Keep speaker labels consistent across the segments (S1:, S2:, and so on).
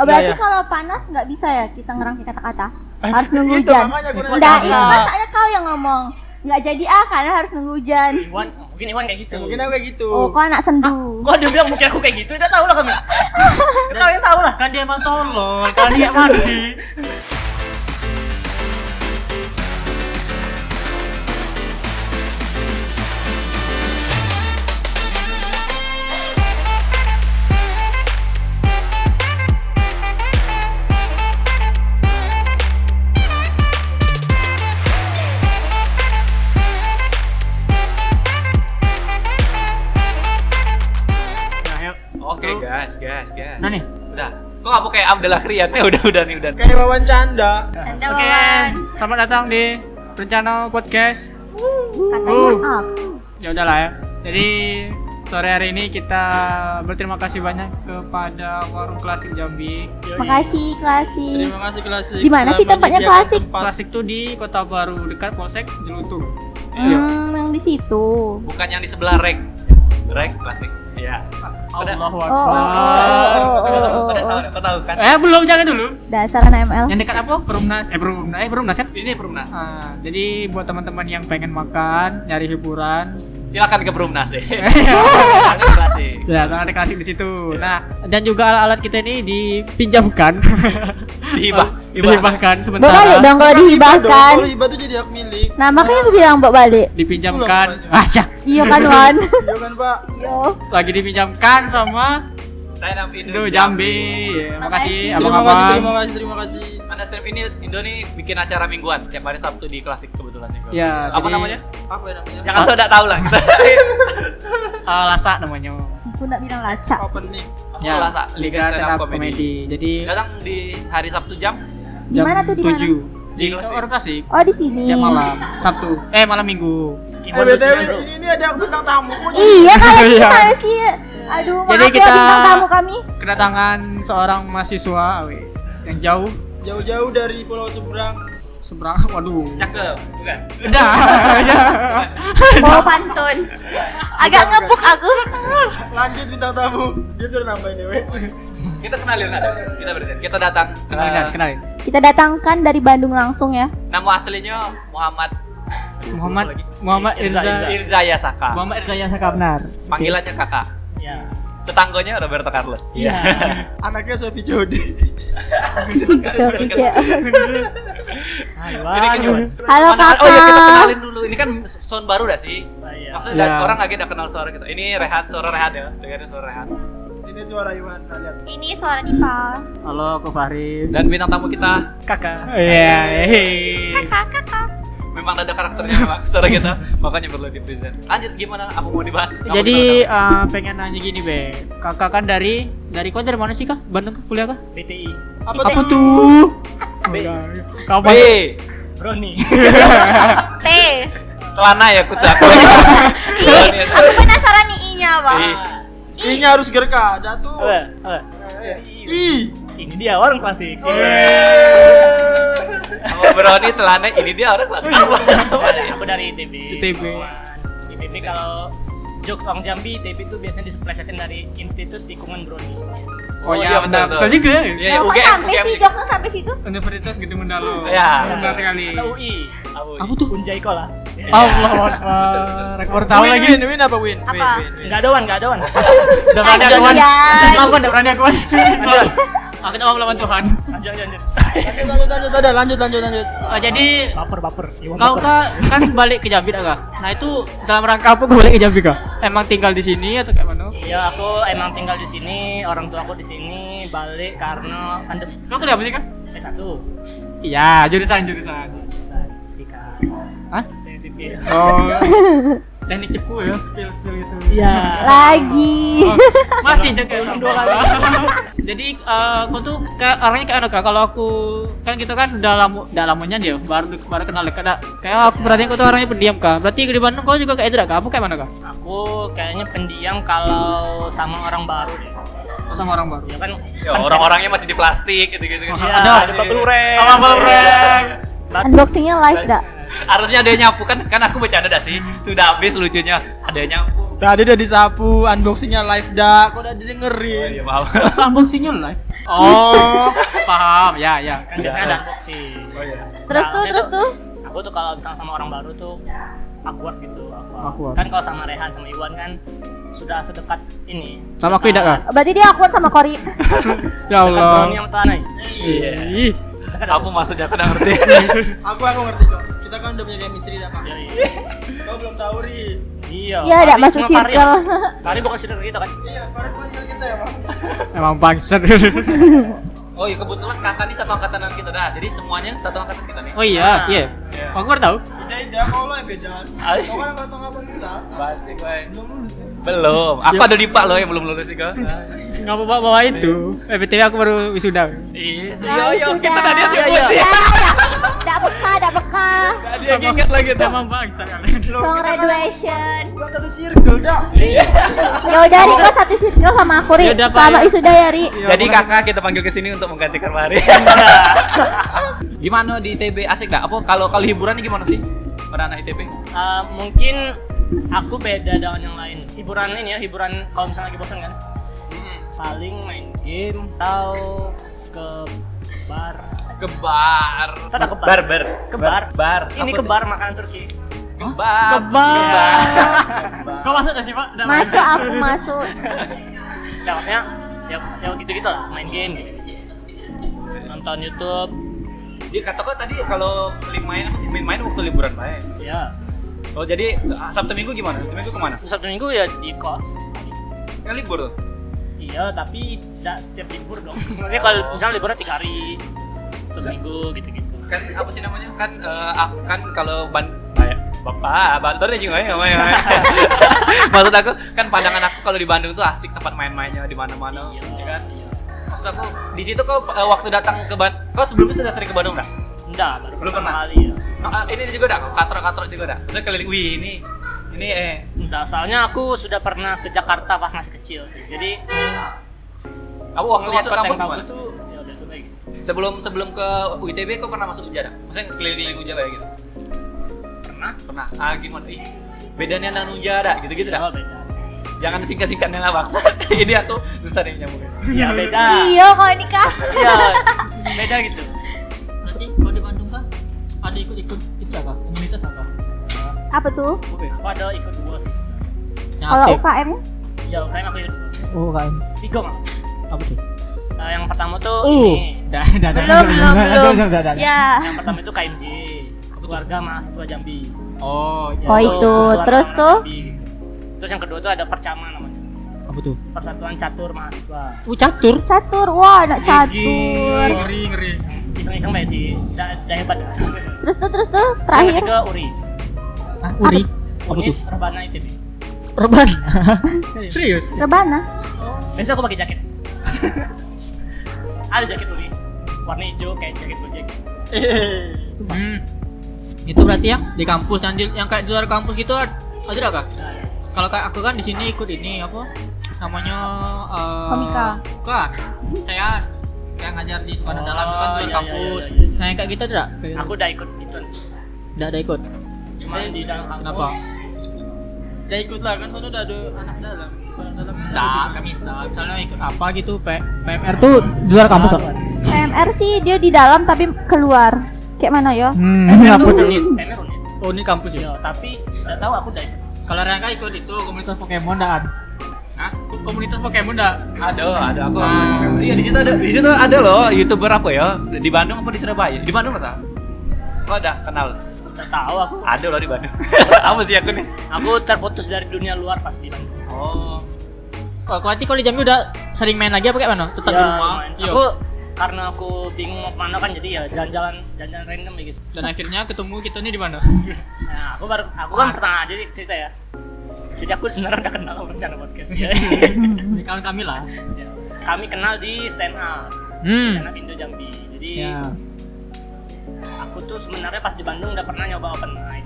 S1: Oh, berarti
S2: Iya, iya.
S1: kalau panas nggak bisa ya kita ngerangkai kata-kata.
S2: Eh,
S1: Harus nunggu
S2: itu
S1: hujan.
S2: makanya gue nanya
S1: Nggak,
S2: kenapa.
S1: itu pas ada kau yang ngomong. Nggak jadi ah karena harus nunggu hujan.
S2: Gitu.
S3: Iwan, mungkin Iwan kayak gitu.
S2: Ya, mungkin aku kayak gitu.
S1: Oh, kau anak
S2: Ah,
S1: sendu.
S3: Kok dia bilang mungkin aku kayak gitu? Udah tau lah kami.
S2: ya
S3: Kalian tau lah. Kan dia emang tolol. Kalian emang sih. Nah, yuk.
S4: Oke
S3: Lu-
S4: guys, guys, guys.
S3: Udah nih.
S4: Udah. Kok aku kayak Abdullah Kriyan? Eh udah, udah nih, udah.
S2: Kayak wawan canda.
S1: Canda
S3: Oke.
S1: Wawan.
S3: Selamat datang di Rencana Podcast.
S1: Katanya ah,
S3: Uh.
S2: Iya,
S1: up.
S3: Ya udahlah ya. Jadi sore hari ini kita berterima kasih banyak kepada Warung Klasik Jambi.
S1: Makasih klasik.
S2: Terima kasih klasik.
S1: Di mana sih
S2: Telah
S1: tempatnya
S2: menyediakan
S1: klasik?
S2: tempat.
S3: Klasik tuh di Kota Baru dekat Polsek Jelutung.
S2: Iya.
S1: Hmm, yang di situ.
S4: Bukan yang di sebelah rek. Rek plastik. Iya. Udah.
S1: Oh, oh, oh, oh,
S4: Kau tahu,
S1: oh,
S4: kau tahu,
S1: oh, oh.
S4: kau tahu kan?
S3: Eh belum jangan dulu.
S1: Dasar anak ML.
S3: Yang dekat apa? Perumnas. Eh Perumnas. Eh Perumnas kan?
S4: Ini Perumnas.
S3: Ah, jadi buat teman-teman yang pengen makan, nyari hiburan,
S4: Silakan ke Perumnas ya. Klasik.
S3: ya sangat ada klasik di situ. Nah, dan juga alat-alat kita ini dipinjamkan,
S4: Dihibah.
S1: Bawa
S3: dihibahkan
S1: balik dong kalau
S3: sementara,
S2: Hibah
S1: dihibahkan.
S2: ya. dong, Kalau hibah tuh jadi hak milik.
S1: Nah, makanya aku bilang bawa balik.
S3: dipinjamkan.
S2: Itu loh,
S3: Ah, ya.
S1: Iya kan, Wan?
S2: Iya kan, Pak?
S1: Yo.
S3: lagi dipinjamkan sama
S4: Stand up Indo
S3: Indo Jambi. Ya,
S1: Makasih.
S3: Makasih,
S2: Terima kasih, terima
S3: abang-abang.
S2: kasih, terima kasih.
S4: Anda stand up ini Indo nih bikin acara mingguan tiap hari Sabtu di Klasik kebetulan juga.
S3: Ya,
S4: Apa
S3: jadi-
S4: namanya?
S2: Apa ya namanya?
S4: Jangan sodak tahu lah kita.
S3: Ah, Lasa namanya.
S1: Aku nak bilang lacak.
S2: Open mic.
S4: Ya, Lasa Liga Stand Up Comedy.
S3: Jadi
S4: Datang di hari Sabtu jam
S1: Di mana tuh di mana?
S3: 7 di
S4: Di Klasik.
S3: Orang Klasik.
S1: Oh, di sini.
S3: Jam malam Sabtu. Eh, malam Minggu.
S2: Eh,
S4: Iwan
S2: BTW,
S4: lucu, bro.
S2: ini, ini ada bintang tamu kok.
S1: Iya kalau
S3: Iya.
S1: kita sih. Aduh, maaf
S3: Jadi
S1: ya
S3: kita-
S1: bintang tamu kami.
S3: kedatangan seorang mahasiswa awe, yang jauh
S2: Jauh-jauh dari Pulau Seberang.
S3: seberang waduh
S4: Cakep, bukan?
S3: udah
S1: Bawa pantun. Agak ngepuk aku.
S2: Lanjut bintang tamu. Dia sudah nambahin ya, dewe.
S4: Kita kenalin ada. Kita present. Kita datang.
S3: kenalin
S4: Eh,
S3: kenalin
S1: Kita datangkan dari Bandung langsung ya.
S4: Nama aslinya Muhammad
S3: Muhammad
S4: Lupa lagi.
S3: Muhammad
S4: Irza, Irza.
S3: Irza
S4: Irza Yasaka.
S3: Muhammad Irza Yasa Kapnar
S4: Panggilannya Kakak.
S3: ya
S4: Tetangganya Roberto Carlos.
S3: iya
S2: Anaknya Sophie Jody.
S1: Shopee Cek.
S4: Ini kan Iwan.
S1: Halo,
S4: Mana- Oh iya kita
S1: Kakak.
S4: kenalin dulu. Ini kan sound baru dah sih. Maksudnya
S3: Iya.
S4: dan orang lagi udah kenal suara kita. Ini Rehat, suara Rehat ya. Dengerin suara Rehat.
S2: Ini suara Iwan. Nah, lihat.
S1: Ini suara Dipa.
S3: halo Ko Fahri
S4: Dan bintang tamu kita
S3: kakak iya hei.
S1: Kakak, kakak.
S4: memang ada karakternya memang suara kita makanya perlu di present. Lanjut gimana? Aku mau dibahas. Kamu
S3: jadi
S4: kenalkan.
S3: eh, pengen nanya gini be kakak kan dari dari kau dari mana sih kak Bandung kah kuliah kah
S5: BTI
S2: Apa
S3: apa
S2: tuh?
S3: tuh
S5: B.
S3: kapan
S4: B
S5: Brownie
S1: T.
S4: celana ya kuda.
S1: I.
S4: ya?
S1: Aku penasaran nih I-nya apa.
S2: Ini harus gerka. Jatuh.
S5: Eh, eh,
S2: I.
S5: ini dia warung klasik Iya.
S4: Sama Brownie celana ini dia orang kelas apa?
S5: aku dari ITB
S3: ITB.
S5: Kawan. ITB kalau jokes orang Jambi ITB itu biasanya displesetin dari Institut Tikungan Brownie
S3: Oh, iya, benar. Betul juga ya.
S4: Iya, iya,
S1: Kau kok
S4: UGM,
S1: sampai
S4: UGM.
S1: sih jokesnya sampai situ?
S3: Universitas Gede Mendalo
S4: Ya.
S3: benar sekali
S5: Nah, atau UI
S4: Aku
S3: Apa tuh?
S5: Unjai Kola
S3: Allah Akbar. Aku baru tahu
S2: win,
S3: lagi.
S2: Win, win apa win? Win,
S1: Apa?
S2: win, win.
S5: nggak ada wan nggak ada wan
S3: Udah nggak ada kan?
S1: Aduh,
S3: kawan.
S1: Jan.
S3: Udah Lakukan udah berani aku. Aku nama melawan Tuhan.
S5: lanjut lanjut lanjut.
S2: Lanjut, lanjut, lanjut, ada. lanjut, lanjut, lanjut.
S3: Eh, jadi
S5: baper baper Iwan
S3: kau
S5: baper.
S3: kak kan balik ke Jambi dah, kak? Nah itu dalam rangka apa kau balik ke Jambi kak? Emang tinggal di sini atau kayak mana?
S5: Iya, aku emang tinggal di sini, orang tua aku di sini, balik karena pandemi.
S3: Kau kuliah apa sih kak?
S5: S1,
S3: Iya jurusan jurusan.
S5: selesai fisika,
S3: Hah?
S5: teknik sipil.
S3: Oh. Teknik cepu ya, spill spill gitu.
S5: Iya.
S1: Lagi.
S3: Oh, masih jaga ulang dua kali jadi eh aku tuh kayak orangnya kayak anu, Kak. kalau aku kan gitu kan udah lama udah lamanya dia baru baru kenal dekat Kak. kayak aku berarti aku tuh orangnya pendiam kak berarti di Bandung kau juga kayak itu dah, kak kamu kayak mana kak
S5: Aku kayaknya pendiam kalau sama orang baru deh.
S3: Kau sama orang baru
S5: Ya kan
S4: Ya,
S5: konsep-
S4: orang-orangnya masih di plastik gitu-gitu. kan.
S5: Iya,
S3: Ada,
S5: ada
S4: sih.
S5: bapak lureng.
S4: Sama Bapak Lureng.
S1: Unboxingnya live gak?
S3: Nah,
S4: Harusnya ada yang nyapu kan kan aku bercanda dah sih. Sudah habis lucunya. Ada yang nyapu.
S2: Tadi udah disapu, unboxingnya live dah. Kok udah
S3: Oh,
S2: didengerin?
S4: Iya paham.
S3: unboxingnya live oh paham ya ya
S5: kan biasanya ada unboxing
S4: Oh iya.
S1: Terus
S5: Nah,
S1: tuh,
S5: saya
S1: terus tuh.
S5: aku tuh kalau misalnya sama orang baru tuh awkward gitu awkward.
S3: Awkward.
S5: kan kalau sama Rehan sama Iwan kan sudah sedekat ini
S3: sama aku tidak kan
S1: Berarti dia awkward sama Kori.
S3: ya
S5: sedekat
S3: Allah
S5: bumi sama tanah
S4: Iya.
S3: Ih,
S4: Apa maksudnya aku udah ngerti.
S2: Aku aku ngerti kok. Kita kan udah punya chemistry dah, Pak.
S5: Iya, iya.
S2: Kau belum tahu, Ri.
S5: iya
S1: Iya,
S5: Fahri
S1: tidak masuk
S3: ya?
S5: sama Fahri.
S1: circle.
S5: Fahri bukan circle kita kan
S2: Iya, baru masih kita ya, Pak.
S3: emang bangsat
S4: Oh iya kebetulan kakak ini satu angkatanan kita dah. Jadi semuanya satu angkatan kita nih.
S3: oh iya iya aku baru tahu
S2: Beda, beda. Kau lo yang beda.
S4: Ay.
S2: Kau kan angkatan 18.
S4: Basic gue.
S2: Belum lulus kan?
S4: Belum. Aku ada di Pak loh yang belum lulus sih kok.
S3: nggak mau bawa bawa itu eh btw aku baru wisuda
S1: Nah,
S4: Iya. Yo yo
S1: sudah.
S4: kita tadi aja buat
S1: Ya,
S4: ya.
S1: ya. Tidak peka, tidak peka.
S4: Tadi yang ingat lagi tuh.
S3: emang bangsat kalian
S2: Belum. Kita kan
S1: Congratulations.
S2: bukan satu circle dah.
S1: Ya udah Ri, kau satu circle sama aku Ri.
S3: Yaudah, Pak,
S1: Selamat
S3: ya.
S1: wisuda ya Ri.
S4: Jadi kakak kita panggil ke sini untuk menggantikan Mari. gimana di TB asik gak? Apa kalau kalau hiburannya gimana sih? Para anak ITB?
S5: Eh, mungkin aku beda dengan yang lain hiburan ini ya hiburan kalau misalnya lagi bosan kan paling main game atau ke bar
S4: Kebar.
S5: Kita ada kebar
S4: Barber.
S5: kebar
S4: Bar.
S5: ini
S4: Apa
S5: ke
S4: tuh?
S5: bar makanan Turki
S4: Kebar.
S3: kebal kau masuk gak sih pak Udah masuk.
S1: Masuk aku masuk.
S5: ya maksudnya ya, ya gitu gitu lah main game nonton YouTube
S4: Dia kata kok tadi kalau beli main apa sih? Main main waktu liburan main.
S5: ya
S4: Oh jadi se- Sabtu Minggu gimana? Sabtu Minggu kemana?
S5: Sabtu Minggu ya di kos
S4: Kan libur tuh.
S5: iya tapi tidak setiap libur dong maksudnya kalau
S4: Oh.
S5: misalnya liburan tiga hari terus minggu gitu gitu
S4: Kan apa sih namanya? Kan eh, aku kan kalau ban Ay- Bapak, Bantor nih juga ya, ya, ya. Maksud aku kan pandangan aku kalau di Bandung tuh asik tempat main-mainnya di mana-mana,
S5: Iya.
S4: ya kan? Maksud aku di situ kau eh, waktu datang ke Bandung, kau sebelumnya sudah sering ke Bandung dah?
S5: enggak baru
S4: Belum
S5: pertama
S4: pernah?
S5: kali ya
S4: No, eh, ini juga dah, katro-katro juga dah. Saya keliling, wih ini, ini eh
S5: enggak soalnya aku sudah pernah ke Jakarta pas masih kecil sih jadi
S4: Aku waktu
S5: ngeliat
S4: Oh, masuk
S5: kota yang
S4: kampus
S5: bagus
S4: gimana?
S5: tuh ya udah suka gitu
S4: Sebelum sebelum ke UITB kau pernah masuk UJA dah? Maksudnya keliling-keliling UJA kayak gitu?
S5: pernah
S4: Pernah. Ah gimana? Ih, bedanya dengan UJA dah, gitu-gitu dah.
S5: ya beda
S4: Jangan singkat-singkatnya lah bangsa. ini aku susah deh nyambungin.
S5: ya beda
S1: Iya kalau nikah.
S5: iya beda gitu
S3: berarti kalau di Bandung kah ada ikut-ikut itu apa komunitas apa
S1: Apa tuh?
S5: aku ada ikut dua sih
S1: Kalau UKM?
S5: ya UKM aku ikut dua
S3: oh kan
S5: tiga malah
S3: apa tuh
S5: Eh, yang pertama tuh
S3: Uh.
S5: ini
S1: Belum, belum, belum. Ya.
S5: yang pertama itu KMJ keluarga mahasiswa Jambi
S3: oh
S5: Ya,
S1: Oh, itu.
S5: keluarga
S1: Terus
S5: mahasiswa
S1: tuh?
S5: Jambi, gitu. terus yang kedua tuh ada percama namanya
S3: apa tuh
S5: Persatuan Catur Mahasiswa
S3: uh catur
S1: Catur, wah anak catur.
S2: Ngeri, ngeri.
S5: iseng-iseng baik sih udah udah hebat dah.
S1: Terus tuh, terus tuh,
S5: yang
S1: terakhir.
S5: ketiga Uri
S3: Uri apa
S5: Uri
S3: tuh
S5: Rebana ITB
S3: reban serius
S1: Rebana.
S5: besok aku pakai jaket ada jaket Uri warna hijau kayak jaket Gojek
S2: Eh.
S3: hmm. itu berarti yang di kampus yang di, yang kayak di luar kampus gitu ad- ada tidak kak kalau kayak aku kan di sini ikut ini apa namanya eh,
S1: Komika.
S3: bukan saya yang ngajar di sekolah
S5: Oh,
S3: dalam kan di luar
S5: iya, iya,
S3: kampus
S5: iya, iya.
S3: nah yang kayak gitu tidak
S5: aku udah ikut gituan sih
S3: tidak ada ikut
S5: cuma di dalam
S3: kenapa?
S5: kampus
S2: Ya ikut lah kan soalnya udah ada anak dalam, sekolah dalam. kan
S3: tidak nggak bisa misalnya ikut apa gitu P- Nah, PMR tuh di luar kampus kak
S1: PMR sih dia di dalam tapi keluar. Kayak mana yo?
S3: hmm
S5: Kamer
S3: apa tuh
S5: Unit Kamer Unit
S3: oh ini kampus ya
S5: Iya, tapi nggak tahu aku udah ikut
S3: kalau Rangka ikut itu komunitas Pokemon dan Hah? komunitas Pokemon dah
S4: Ada, ada aku.
S5: Ah.
S4: Iya di situ ada, di situ ada loh youtuber apa ya? Di Bandung apa di Surabaya? Di Bandung masa? Kok ada kenal?
S5: nggak tahu aku
S4: Ada loh di Bandung. apa sih aku nih?
S5: aku terputus dari dunia luar pas di Bandung
S4: Oh,
S3: Oh, kalau nanti kalau di Jambi udah sering main lagi apa kayak mana? Tetap di rumah.
S5: lumayan.
S3: Iya.
S5: aku karena aku bingung mau kemana kan jadi ya jalan-jalan jalan-jalan random ya gitu
S3: Dan akhirnya ketemu kita nih di mana?
S5: nah aku baru aku kan pertama jadi cerita ya jadi aku sebenarnya udah kenal sama rencana podcast ya.
S3: di kawan kami lah.
S5: Ya. kami kenal di stand up stand
S3: Hmm.
S5: up Indo Jambi jadi
S3: Ya.
S5: aku tuh sebenarnya pas di Bandung udah pernah nyoba open mic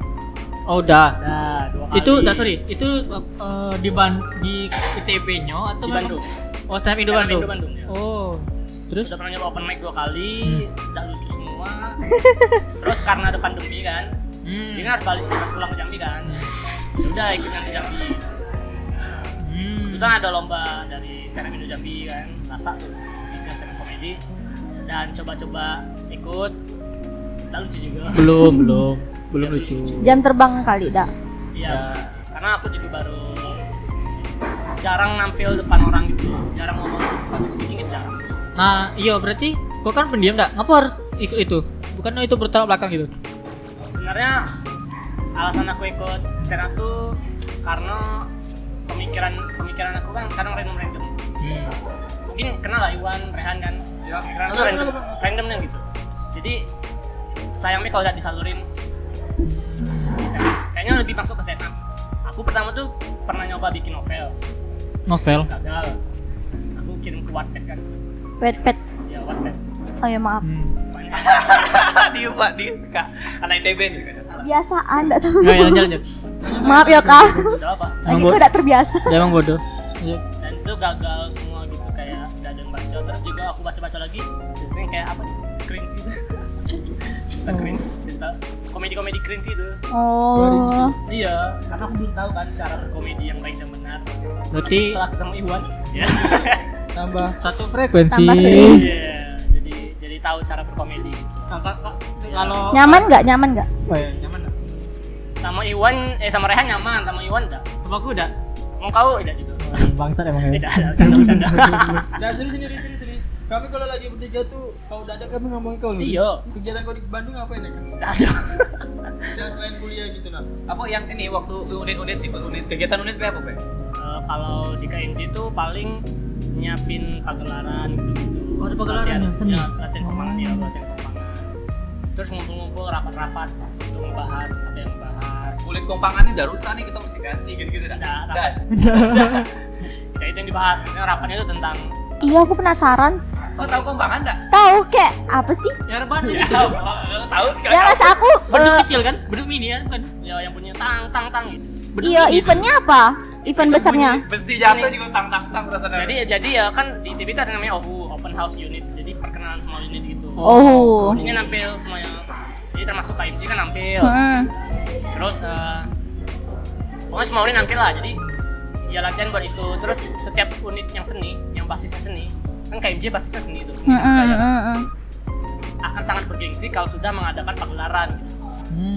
S3: Oh, udah.
S5: nah dua kali
S3: Itu, nah, sorry, itu eh, di ban di ITB-nya atau
S5: Di
S3: memang-
S5: Bandung.
S3: Oh, stand up Indo
S5: Stand up
S3: Bandung.
S5: Indo Bandung, ya.
S3: Oh. Terus
S5: udah pernah nyoba open mic dua kali udah lucu semua terus karena ada pandemi kan
S3: hmm.
S5: Dia kan harus balik harus pulang ke Jambi kan. Ya udah ikut yang di Jambi.
S3: Hmm.
S5: Itu kan ada lomba dari stand up Indo Jambi kan, NASA tuh, Liga stand up comedy dan coba-coba ikut. Dan lucu juga.
S3: Belum, belum. Belum lucu.
S1: Jam terbang kali, dah.
S5: Iya. Karena aku juga baru jarang nampil depan orang gitu, jarang ngomong public speaking gitu jarang.
S3: Nah, iya berarti gua kan pendiam enggak? Ngapa harus ikut itu? Bukan itu bertolak belakang gitu.
S5: Sebenarnya alasan aku ikut stand up tuh karena pemikiran pemikiran aku kan kadang random random.
S4: Hmm.
S5: Mungkin kenal lah Iwan, Rehan kan. Ya, pemikiran tuh random, random yang gitu. Jadi sayangnya kalau nggak disalurin di stand up. kayaknya lebih masuk ke stand up. Aku pertama tuh pernah nyoba bikin novel,
S3: Novel.
S5: gagal. Aku kirim ke Wattpad kan.
S1: Pet pet.
S5: Ya Wattpad.
S1: Oh ya maaf.
S3: Hmm.
S4: dia pak dia suka anak ITB nih kata salah
S1: Biasaan, enggak tahu.
S3: Nah, jalan jalan.
S1: Maaf ya, Kak.
S5: Udah apa?
S1: Lagi
S3: Emang
S1: gue enggak terbiasa.
S3: Ya emang bodoh. Iya.
S5: dan itu gagal semua gitu kayak gak ada yang baca terus juga aku baca-baca lagi ini kayak apa cringe gitu cerita
S2: Oh.
S5: cringe cerita komedi-komedi cringe gitu
S1: Oh.
S5: iya karena aku belum tahu kan cara berkomedi yang baik dan benar
S3: Berarti
S5: setelah ketemu Iwan ya
S2: Tambah.
S3: satu frekuensi.
S1: Tambah frekuensi.
S5: Iya, jadi jadi tahu cara berkomedi gitu.
S2: Kalau
S1: Nyaman nggak? Nyaman nggak?
S2: apa ya nyaman nggak?
S5: sama Iwan eh sama Rehan nyaman sama Iwan enggak
S3: Sama gua enggak?
S5: mau kau tidak juga
S2: Bangsat emang ya.
S5: tidak ada bercanda bercanda
S2: Nah serius sendiri serius sendiri. Kami kalau lagi bertiga tuh kau udah ada kami ngomongin kau. Lur.
S5: Iya.
S2: Kegiatan kau di Bandung ngapain ya? Kak?
S5: ada
S2: Jangan selain kuliah gitu nah.
S4: apa yang ini waktu unit-unit tipe unit kegiatan unit kayak apa pak
S5: Eh, kalau di KMT itu paling nyiapin pagelaran gitu.
S3: Oh, ada pagelaran
S5: Latihan-
S3: ya, seni?
S5: ya, latihan kompangan ya, latihan kompangan. Terus ngumpul-ngumpul rapat-rapat untuk membahas apa yang dibahas.
S4: kulit kompangannya udah rusak nih kita mesti ganti gitu-gitu dah
S5: Udah,
S4: Dah.
S5: rapat. ya itu yang dibahas. Karena rapatnya itu tentang
S1: Iya, aku penasaran.
S4: kau tahu kompangan enggak
S1: Tahu kek apa sih?
S3: Ya rebahan
S5: ya,
S3: gitu.
S4: tahu
S1: Ya mas aku
S3: Beduk
S1: eh,
S3: kecil kan? Beduk mini kan bukan?
S5: ya, yang punya tang tang tang gitu.
S1: Iya, eventnya apa? Event besarnya?
S4: besi jatuh juga tang tang tang rasanya
S5: Jadi jadi ya kan di TV itu ada namanya OHU, Open House Unit. Jadi perkenalan semua unit gitu.
S1: Oh.
S5: Ini nampil semuanya. Jadi termasuk KMT kan nampil.
S1: Hmm.
S5: terus eh, pokoknya semua unit nanti lah jadi ya latihan buat itu terus setiap unit yang seni yang basisnya seni kan KMJ basisnya seni itu seni
S1: Hmm,
S5: dan
S1: hmm,
S5: budaya.
S1: hmm, hmm.
S5: akan sangat bergengsi kalau sudah mengadakan pagelaran gitu.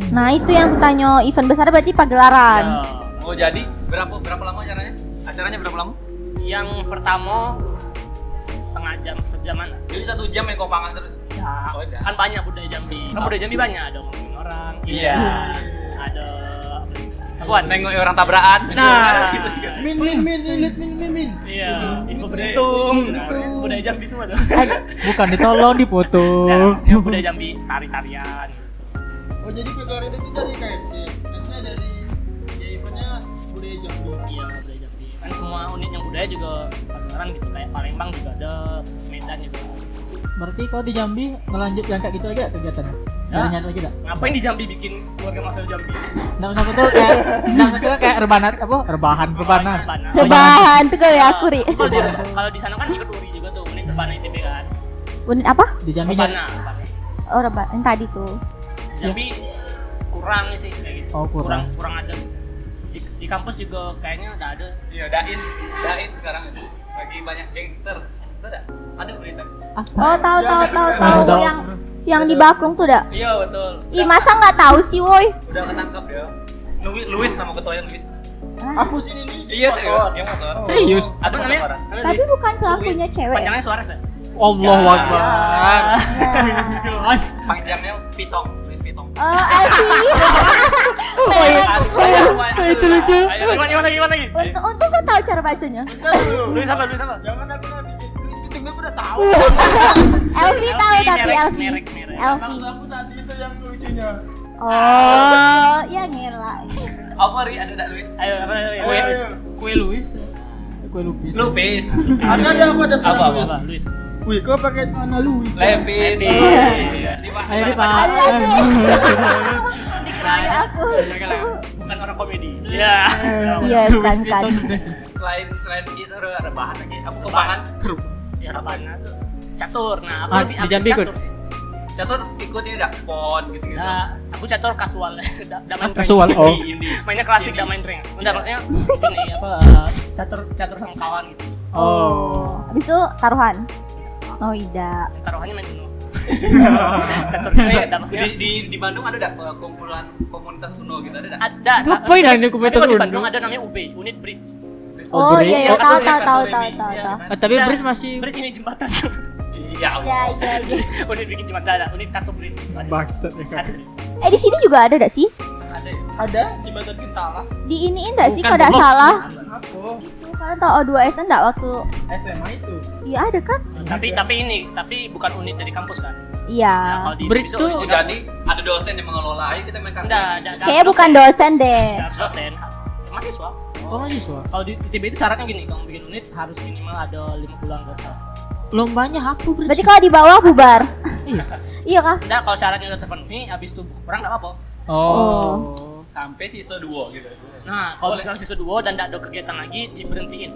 S1: Nah itu yang aku tanya event besar berarti pagelaran.
S5: Eh,
S4: oh jadi berapa berapa lama acaranya acaranya berapa lama
S5: Ya, yang pertama setengah jam sejaman lah.
S4: jadi satu jam yang kompangan terus
S5: ya,
S4: Oh, udah.
S5: kan banyak budaya Jambi kan budaya Jambi banyak ada ngomongin orang
S4: Iya.
S5: ada apa gitu.
S4: Wah, nengok orang tabrakan. Gitu,
S5: Nah.
S2: Min min min unit min min min.
S5: iya info beruntung Nah, budaya Jambi semua tuh
S3: Bukan ditolong dipoto.
S5: Ya,
S3: Nah,
S5: maksudnya budaya Jambi tari-tarian
S2: Oh jadi pegawai itu dari KFC. Maksudnya dari ya eventnya budaya Jambi.
S5: Iya budaya Jambi. Kan semua unit yang budaya juga pagelaran gitu kayak Palembang juga ada, Medan juga. ada.
S3: Berarti kau di Jambi ngelanjut yang kayak gitu lagi gak kegiatannya?
S5: Ya.
S3: Ada nyari lagi gak?
S5: Ngapain di Jambi bikin keluarga masa Jambi?
S3: Nah, maksud aku tuh kayak, nah, maksud aku kayak rebahan apa? Rebahan, rebanan.
S5: Rebana.
S1: Rebahan tuh gawe ya, aku ri.
S5: Kalau di kalau di sana kan ikut URI juga tuh unit Rebana ITB kan.
S1: Unit apa?
S3: Di Jambi nyari.
S5: Rebana. Rebana.
S1: Oh rebahan yang tadi tuh.
S5: Di Jambi kurang sih kayak gitu.
S3: Oh, kurang.
S5: kurang, ada gitu. Di, di kampus juga kayaknya udah ada.
S4: Iya, dain, dain sekarang lagi banyak gangster. Betul enggak? Ada berita.
S1: Oh tahu tahu tahu tahu
S3: Tahu.
S1: yang yang di Bakung tuh dak.
S4: Iya, betul.
S1: Ih masa nggak tahu sih woi.
S4: Udah ketangkap ya. Louis, Louis nama ketuanya Louis.
S2: Aku sini nih.
S4: Iya, serius. Dia motor.
S3: Serius?
S4: Ada
S5: Apa
S4: namanya?
S5: namanya? Namanya
S1: Tapi
S5: Luis.
S1: bukan pelakunya
S3: Oh, iya.
S1: cewek. ya?
S5: Panjangnya Suarez ya?
S3: Allah
S4: Ya.
S3: Akbar.
S4: Panjangnya Pitong, Louis Pitong.
S1: Oh Alfi.
S4: Itu lucu.
S5: Ayo, gimana gimana gimana lagi?
S1: Untung untung kau tahu cara bacanya.
S5: Luis apa? Luis apa?
S2: Jangan Kan aku nanti Luis Pitung aku udah tahu.
S1: Elvi tahu
S5: Elvi,
S1: tapi
S5: merek,
S1: Elvi.
S5: merek, merek.
S1: Elvi.
S2: Maksud aku tadi itu yang lucunya.
S1: Oh ya ngela.
S4: Apa Ri? Ada enggak Louis?
S5: Ayo, apa? ayo,
S3: Oh, iya,
S2: Ayo,
S5: ayo.
S2: ayo.
S3: Kue Luis. Kue lupis.
S4: Lupis.
S2: Ada ada apa ada
S4: Apa
S2: sekarang
S4: apa?
S2: Luis?
S5: Apa? Luis.
S2: Wih, kau pakai celana Luis.
S4: Lepis. Iya.
S3: Ayo nih,
S4: Di-
S3: Pak.
S1: Dikeroyok aku.
S5: bukan orang komedi. Iya.
S1: Iya bukan
S3: gitu.
S1: kan.
S4: Selain selain itu ada ada bahan lagi. Apa kebangan?
S5: Ya Rabana tuh catur. Nah, aku
S3: Ah,
S5: lebih
S3: di
S5: aktif
S3: Jambi ikut?
S5: catur sih.
S4: Catur ikut ini enggak pon gitu-gitu.
S5: Nah, aku catur kasual da- da main ring.
S3: Kasual, Gitu. oh. iya.
S5: mainnya klasik da main ring enggak maksudnya ini apa catur catur sama kawan gitu
S3: Oh.
S1: Habis itu taruhan. Oh, tidak.
S5: taruhannya main uno catur ini enggak maksudnya
S4: Di, di, di Bandung ada dak eh, kumpulan komunitas Uno gitu ada dak?
S5: ada
S3: Ngapain ada
S5: ada-
S3: yang
S5: tapi kalau
S3: kumpul
S5: di Bandung
S3: uno?
S5: ada namanya UB Unit Bridge
S1: Oh,
S3: beri-
S1: iya, iya, tahu,
S3: oh,
S4: kasurnya,
S1: tahu, tahu,
S4: kasurnya
S1: tahu,
S4: ini.
S1: tahu,
S5: Iya,
S1: tahu.
S5: kan?
S3: Eh, tapi
S5: Nah,
S3: bridge masih-
S5: bridge ini jembatan
S4: Iya
S1: Iya, iya, iya.
S5: Unit bikin jembatan ada unit kartu bridge gitu ada
S3: Bangsat ya
S5: ada
S3: kak.
S5: serius.
S1: Eh, di sini juga ada enggak sih?
S4: Ada ya?
S2: Ada jembatan kentala.
S1: Di iniin enggak sih
S3: Bukan,
S1: kalau enggak
S3: goblok.
S1: salah?
S2: Apa?
S1: Itu kalian tahu O2SN enggak waktu
S2: SMA itu.
S1: Iya ada kan?
S5: tapi tapi ini tapi bukan unit dari kampus kan
S1: Iya.
S5: Nah, kalau di
S3: Ah, Bridge tuh-
S5: unit
S4: Oh,
S5: dari
S4: jadi
S5: kampus.
S4: ada dosen yang mengelola. Ayo kita main kartu.
S5: Nggak, ada- ada
S1: Kayaknya
S5: dosen.
S1: bukan dosen deh.
S5: Ada dosen mahasiswa
S3: Oh mahasiswa.
S5: kalau di, di TB itu syaratnya gini kalau bikin unit harus minimal ada 50 anggota
S3: Lombanya aku bridge.
S1: Berarti kalau di bawah bubar.
S3: Iya.
S1: iya kah?
S5: nah kalau syaratnya udah terpenuhi habis itu kurang nggak apa-apa
S3: Oh.
S4: Sampai sisa dua gitu.
S5: nah kalau misalnya sisa dua dan nggak ada kegiatan lagi diberhentiin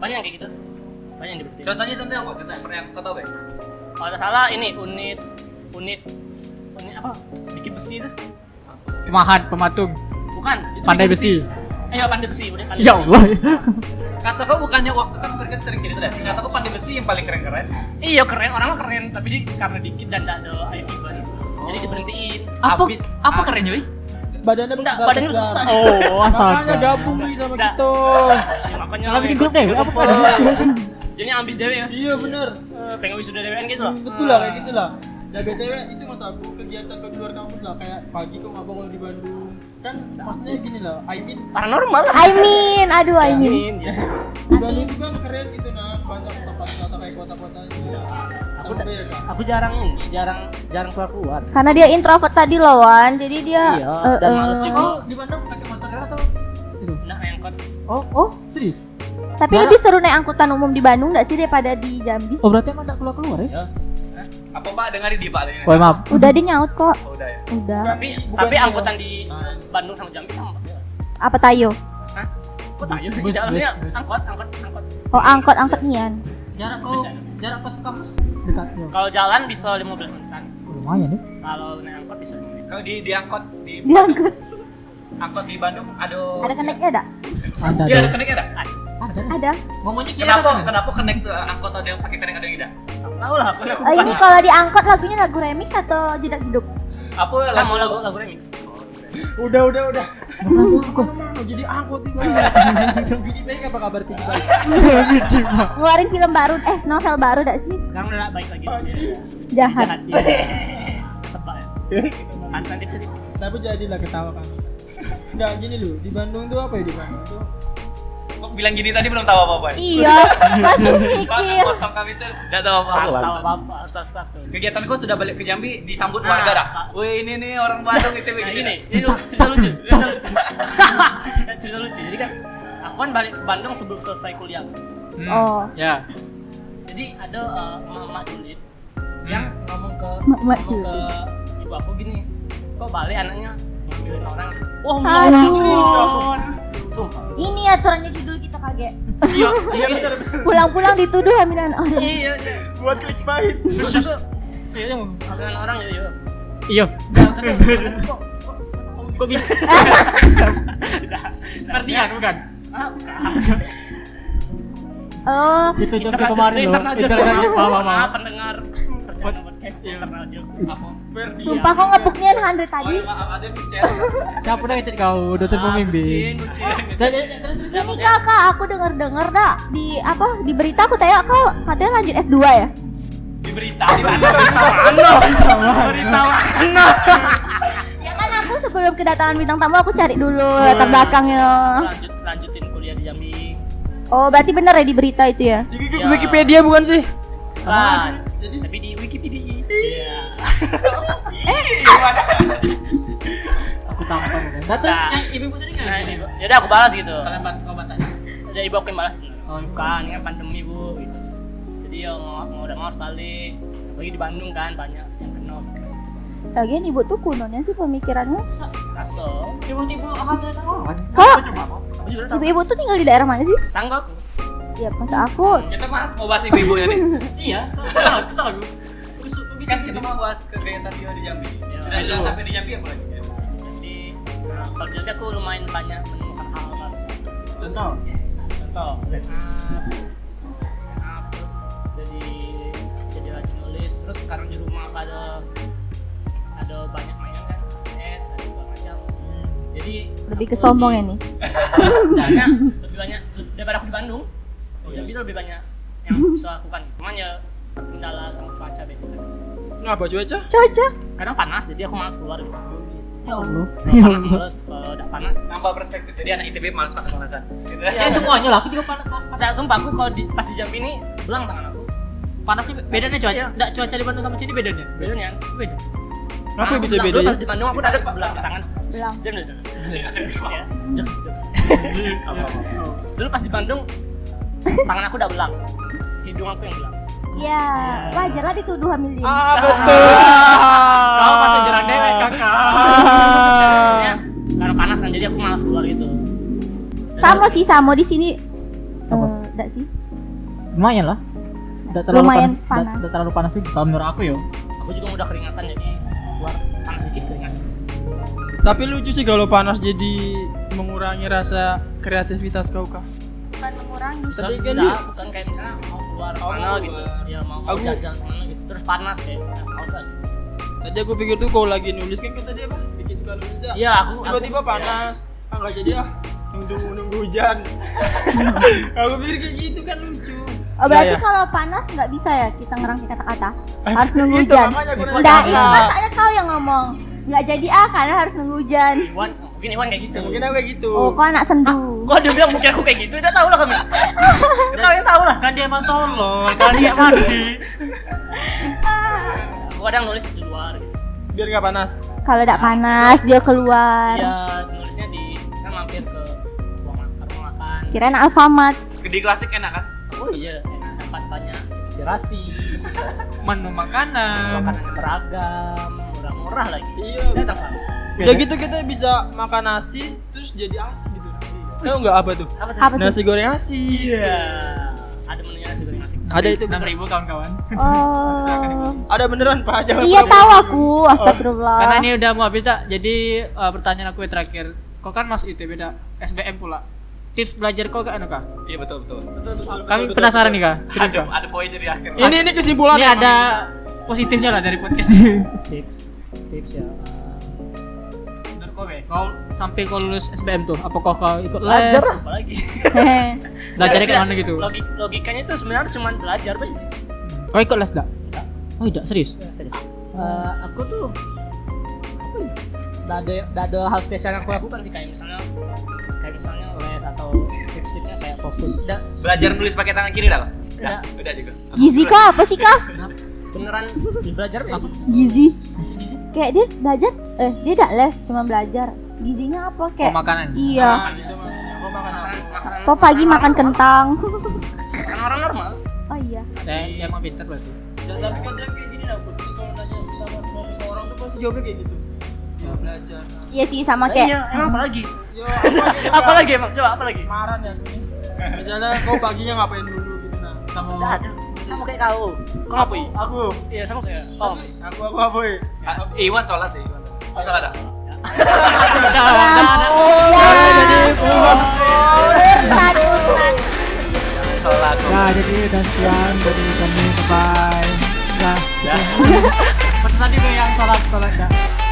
S5: banyak kayak gitu banyak yang diberhentiin
S4: Contohnya contohnya apa? Contohnya pernah yang kau tahu Bang?
S5: kalau nggak salah ini unit unit unit apa bikin besi itu
S3: Mahan pematung.
S5: bukan itu
S3: Pandai
S5: bikin
S3: besi.
S5: Iya pandai besi, udah pandai
S3: Ya
S5: besi.
S3: Allah.
S4: Kata kau bukannya waktu kan mereka sering cerita dah. Kata kau pandai besi yang paling keren-keren.
S5: Iya keren, orang mah keren, tapi sih karena dikit dan tidak ada IT ban. Jadi diberhentiin.
S3: Apa
S4: Habis-
S3: apa keren cuy?
S2: Badannya
S5: Enggak,
S2: besar,
S5: badannya
S2: besar.
S5: besar.
S3: Oh,
S2: Makanya gabung nih sama
S5: Nggak.
S2: kita.
S5: Ya, makanya
S3: Kalau Oh. bikin
S5: ikut-
S3: grup deh,
S5: ikut
S3: apa
S5: kumpul.
S3: pada?
S5: Jadi ambis dewe ya.
S2: Iya bener. Eh,
S5: Pengen wisuda dewean gitu loh.
S2: Hmm, Betul lah kayak gitulah. Nah, Dan BTW itu mas aku kegiatan kau di luar kampus lah kayak pagi kau ngapa kalau di Bandung kan maksudnya gini lah I mean
S5: Paranormal.
S1: I mean, aduh I mean.
S5: Ya.
S2: di Bandung itu kan keren gitu nah banyak tempat wisata kayak kota-kota itu sampai ya kan
S5: Aku jarang ini, jarang jarang keluar keluar.
S1: Karena dia introvert tadi loh Wan, jadi dia
S5: Iya,
S1: eh,
S5: dan
S1: eh.
S5: males juga.
S3: di Bandung pakai motor ya, atau?
S5: Nah, angkot.
S3: Oh,
S1: Oh,
S3: serius?
S1: tapi lebih seru naik angkutan umum di Bandung nggak sih daripada di Jambi?
S3: Oh, berarti emang enggak keluar-keluar
S5: Iya.
S3: ya?
S1: Eh.
S4: Apa Pak dengarin di Pak dengarin.
S3: Oh, maaf.
S1: Udah dia nyaut kok.
S4: Oh, udah ya.
S1: Udah.
S5: Tapi Eh.
S2: Bukan
S5: tapi
S2: dia.
S5: angkutan di Bandung sama Jambi sama.
S1: Apa tayo?
S5: Hah? Kok tak ya?
S3: bus,
S5: Jalannya
S3: bus.
S5: angkot, angkot, angkot.
S1: Oh, angkot angkot nian.
S3: Jarak
S5: kau-
S3: jarak kau ke kampus
S1: Iya.
S3: dekatnya.
S5: Kalau jalan bisa 15 menitan.
S3: Lumayan ya.
S5: Kalau naik angkot bisa 5 menit.
S4: Kalau di diangkot di
S1: Diangkut.
S4: angkot di Bandung ada
S1: Iya. Ada kan, connectnya ada?
S3: Ada.
S4: Iya, ada keneknya ada.
S3: Ada.
S1: Ada.
S3: Momennya kira
S4: Kenapa
S3: kan?
S4: kenapa kenek tuh angkot ada yang pakai kenek ada yang tidak?
S5: Aku tahu lah, aku aku
S1: Oh, ini kalau di angkot lagunya lagu remix atau jedak jeduk?
S4: Apa
S5: sama lagu lagu remix.
S2: udah udah udah Mana-mana, jadi angkot di Bandung Gini baik apa kabar Pidi baik
S1: Ngeluarin film baru eh novel baru enggak sih?
S5: Sekarang udah baik lagi.
S1: Jahat.
S5: Oh, Jahat. Iya. Tebak ya. Kan nanti kritis.
S2: tapi jadilah ketawa kan Enggak gini loh di Bandung tuh apa ya di Bandung tuh
S4: Kok bilang gini tadi belum tahu apa-apa ya?
S1: Iya, masih
S4: Pas
S3: Iya.
S1: mikir.
S4: potong kami tuh enggak tahu
S5: Harus tahu
S4: apa-apa.
S5: apa-apa, harus tahu sesuatu.
S4: Kegiatan gua sudah balik ke Jambi disambut
S5: Nah.
S3: Ah.
S4: warga dah. Wih, ini nih orang Bandung itu
S5: Nah
S4: begini.
S5: ini, ini lu- cerita lucu, cerita lucu. cerita lucu. Jadi kan aku kan balik ke Bandung sebelum selesai kuliah.
S1: Oh.
S3: Ya.
S5: Jadi ada eh, emak-emak julid yang
S3: Hmm.
S5: ngomong ke
S1: Emak-emak
S5: ngomong
S3: Iya.
S5: ke ibu aku gini, kok balik anaknya ngambilin orang.
S3: Oh,
S5: Wah, wow,
S1: Aduh.
S5: Sumpah.
S1: Ini aturannya judul gitu, kita kaget.
S5: Iya, iya benar.
S1: Pulang-pulang dituduh Oh, hamil anak orang.
S5: Iya, iya.
S2: buat klik pahit
S5: Terus aku
S3: Iya, Jung.
S5: ngambilin orang ya, iya.
S3: Iya.
S5: Dan aku kok kok gitu?" gini.
S3: Iya. Pertian bukan?
S5: Ah, bukan.
S1: Oh,
S3: Itu tuh
S5: Internal
S3: kemarin
S5: joke,
S3: loh.
S5: internal joke.
S3: Internal joke. Maaf, maaf, maaf.
S5: Maaf, pendengar. Perjalanan podcast, internal joke.
S3: Iya.
S2: Ferdi
S1: sumpah kok ngebuknya 100 tadi.
S4: Oh, iya, Maaf, ada yang bicara.
S3: Siapa dah ngechat kau?
S5: Ah,
S3: Dokter pembimbing.
S5: Iya.
S3: Dan Nah, ya, terus terus
S1: Ini
S4: ya.
S1: kakak, aku denger dengar dak di apa di berita aku tanya kau katanya lanjut S2 ya?
S4: Di berita di mana?
S1: Ya kan aku sebelum kedatangan bintang tamu aku cari dulu latar belakangnya.
S5: lanjut lanjutin kuliah di Jambi
S1: Oh berarti bener ya di berita itu ya?
S2: di
S5: Ya.
S2: Wikipedia bukan sih
S5: kan
S2: Jadi-
S5: tapi di Wikipedia
S3: aku tampar kan. Dan terus yang ibu ibu tadi
S5: nah
S3: kan.
S5: ini ya udah aku balas gitu
S4: Kalian bantu kau bantah.
S5: jadi ibu aku yang balas
S3: Oh,
S5: oh,
S3: ibu.
S5: bukan ini kan pandemi bu gitu jadi ya mau, mau udah mau harus balik apalagi di Bandung kan banyak yang kena
S1: Lagian ibu tuh kunonya sih pemikirannya.
S5: kaso
S3: Tiba-tiba hamil kan orang.
S1: Kok
S5: aku juga udah tahu
S1: ibu-ibu tuh tinggal di daerah mana sih?
S5: tanggap
S1: Ya pas aku
S4: Kita mas mau bahas ibu-ibunya nih.
S3: Iya. Kesal kesal aku. gitu. Aku bisa
S4: iya. Kan kita mau bahas kegiatan dia di Jambi. Sudah jelas sampai di Jambi apa lagi?
S5: kalau jadi aku lumayan banyak menemukan hal baru
S2: Contoh.
S5: contoh set up set up terus jadi jadi rajin nulis terus sekarang di rumah ada ada banyak mainan kan es ada segala macam jadi
S1: Lebih
S5: aku
S1: ke sombong ya nih.
S5: Biasanya lebih banyak daripada aku di Bandung
S1: Oh, iya.
S5: bisa bisa lebih banyak yang bisa aku lakukan cuman ya terkendala sama cuaca biasanya
S2: Ngapa cuaca?
S1: Cuaca.
S5: kadang panas jadi aku malas keluar gitu
S1: Ya Allah.
S5: panas males kalau udah panas
S4: Nambah perspektif. Jadi anak ITB malas panas-panasan. Gitu.
S3: Ya semuanya lah, aku juga panas.
S5: ada Iya, Nah, sumpah aku kalau di, pas di jam ini pulang tangan aku
S3: Panasnya bedanya cuaca.
S5: Iya.
S3: Enggak cuaca di Bandung sama sini bedanya.
S5: bedanya
S3: Beda.
S2: Kenapa
S5: Aku
S2: bisa
S5: bilang dulu
S2: bedanya?
S5: Pas di Bandung aku udah ada belang tangan.
S1: Belang.
S5: Diam, diam, diam. Iya. Jok, jok. Dulu pas di Bandung tangan aku udah belang. Hidung aku yang belang.
S1: Ya, wajar lah dituduh hamil dini.
S2: Ah betul.
S3: Kau pas jalan
S4: eh,
S3: dewek,
S2: kakak.
S5: Maksudnya karena panas kan jadi aku malas keluar gitu.
S1: Sama sih, sama di sini. Eh, enggak sih?
S6: lumayan lah Nggak terlalu
S1: Lumayan
S6: nggak-
S1: panas.
S6: nggak terlalu panas juga kalau menurut aku yo
S5: Aku juga udah keringatan jadi keluar panas sedikit keringat.
S2: Tapi lucu sih kalau panas jadi mengurangi rasa kreativitas kau kah?
S1: Bukan mengurangi.
S2: Tapi kan
S5: Enggak,
S2: dia-
S5: bukan kayak misalnya mau keluar
S2: Oh,
S5: mana
S2: mau
S5: gitu.
S2: keluar.
S5: Ya mau
S2: Aku-
S5: aku jalan kemana gitu. Terus panas kayak udah males lah. gitu.
S2: Tadi aku pikir tuh kau lagi nulis kan kau tadi apa? Bikin suka nulis dah.
S5: Iya, aku-
S2: tiba-tiba
S5: aku-
S2: panas. Ah nggak jadi ah. Nunggu nunggu hujan. aku pikir kayak gitu kan lucu.
S1: Oh, berarti
S2: Ya, ya.
S1: kalau panas nggak bisa ya kita ngerangkai kata-kata.
S2: Eh,
S1: Harus nunggu
S2: itu
S1: hujan.
S2: makanya aku nanya.
S1: Nggak, itu pas ada kau yang ngomong. Nggak jadi ah karena harus nunggu hujan.
S5: Iwan, mungkin Iwan kayak gitu.
S2: Mungkin aku kayak gitu.
S1: Oh, kau anak sendu.
S5: Kok dia bilang mungkin aku kayak gitu, udah tau lah kami. Udah
S2: ya,
S5: tau yang tau lah.
S3: Kan dia emang tolol. Kan dia mana sih?
S5: Aku kadang nulis di luar gitu.
S2: Biar nggak panas.
S1: Kalau nggak panas dia keluar.
S5: Iya, nulisnya di kan mampir ke ruang makan, ruang makan.
S1: Kirain Alfamart.
S4: Gede klasik enak kan?
S5: Oh iya, enak dapat banyak inspirasi,
S3: Menu makanan.
S5: makanannya beragam, murah-murah lagi.
S2: Iya.
S5: Datang pas.
S2: Udah gitu kita bisa makan nasi terus jadi asi gitu. Tahu nggak apa tuh?
S5: Apa tuh?
S1: Apa tuh?
S2: Nasi goreng asi.
S5: Iya. Ada menunya nasi goreng Nah, nasi.
S2: Ada itu.
S3: enam
S2: bener-
S3: ribu kawan-kawan.
S1: Oh.
S2: Ada beneran Pak, jangan
S1: Iya
S2: bohong.
S1: tahu aku.
S3: Karena
S1: Astagfirullah.
S3: ini udah mau habis tak. Jadi eh, pertanyaan aku yang terakhir. Kau kan masuk ITB dah SBM pula. Tips belajar kau gak anu kah?
S4: Iya betul betul.
S3: Kami penasaran nih kak. Serius
S4: Ada
S3: kak.
S4: ada poin jadi akhir.
S2: Ini ini kesimpulan.
S3: Ini ada positifnya lah dari podcast ini.
S6: tips tips ya eh,
S3: Menurut kau, Be, kau sampai kau lulus SBM tuh, apa kau kau ikut les?
S6: belajar lah
S5: Apa lagi?
S3: Belajarnya
S5: Harus
S3: kayak mana
S5: kita-
S3: gitu?
S5: Logik logikanya itu sebenarnya cuma belajar aja sih.
S3: Kau ikut les gak? Oh tidak serius.
S5: Iya, Serius.
S6: Eh, aku tuh apa ya?
S5: hmm,
S6: Nggak ada nggak ada hal spesial yang aku
S5: Aku lakukan sih kayak misalnya kayak misalnya les atau tips-tipsnya kayak fokus. Udah
S4: Belajar nulis pakai tangan kiri dah. Kak?
S5: Iya.
S4: Dah, udah juga.
S1: Gizi kah apa sih kah?
S5: beneran belajar apa?
S1: Gizi. Kayak dia belajar eh dia tidak les cuma belajar. Gizinya apa
S3: Oh,
S1: kayak?
S3: makanan.
S1: Iya.
S2: Nah, gitu maksudnya. Mau makan apa?
S5: Makanan, makanan,
S1: Kok pagi makan kentang?
S5: makanan Kan orang normal.
S1: Oh iya.
S3: Saya dia emang pintar berarti.
S2: Ya, tapi kadang kayak gini lah, pasti kalau nanya sama sama orang tuh pasti jawabnya kayak gitu. Ya belajar.
S1: Iya sih sama kayak.
S5: Iya, emang apa lagi?
S2: Yo, apa
S5: apa lagi emang? Coba apa lagi?
S2: Marah ya. Misalnya kau paginya ngapain dulu gitu nah. Sama
S5: Udah ada. Sama kayak kau. Kau ngapain?
S2: aku.
S5: Iya, sama kayak.
S2: Oh,
S5: Oh.
S2: aku aku apa? ya?
S4: Ah, Iwan sholat sih. Iwan. Oh, sholat dah.
S1: Iya. Tadi.
S4: Sholat.
S6: ya jadi dan sekian dari kami bye nah
S3: Seperti tadi Be, yang sholat sholat gak?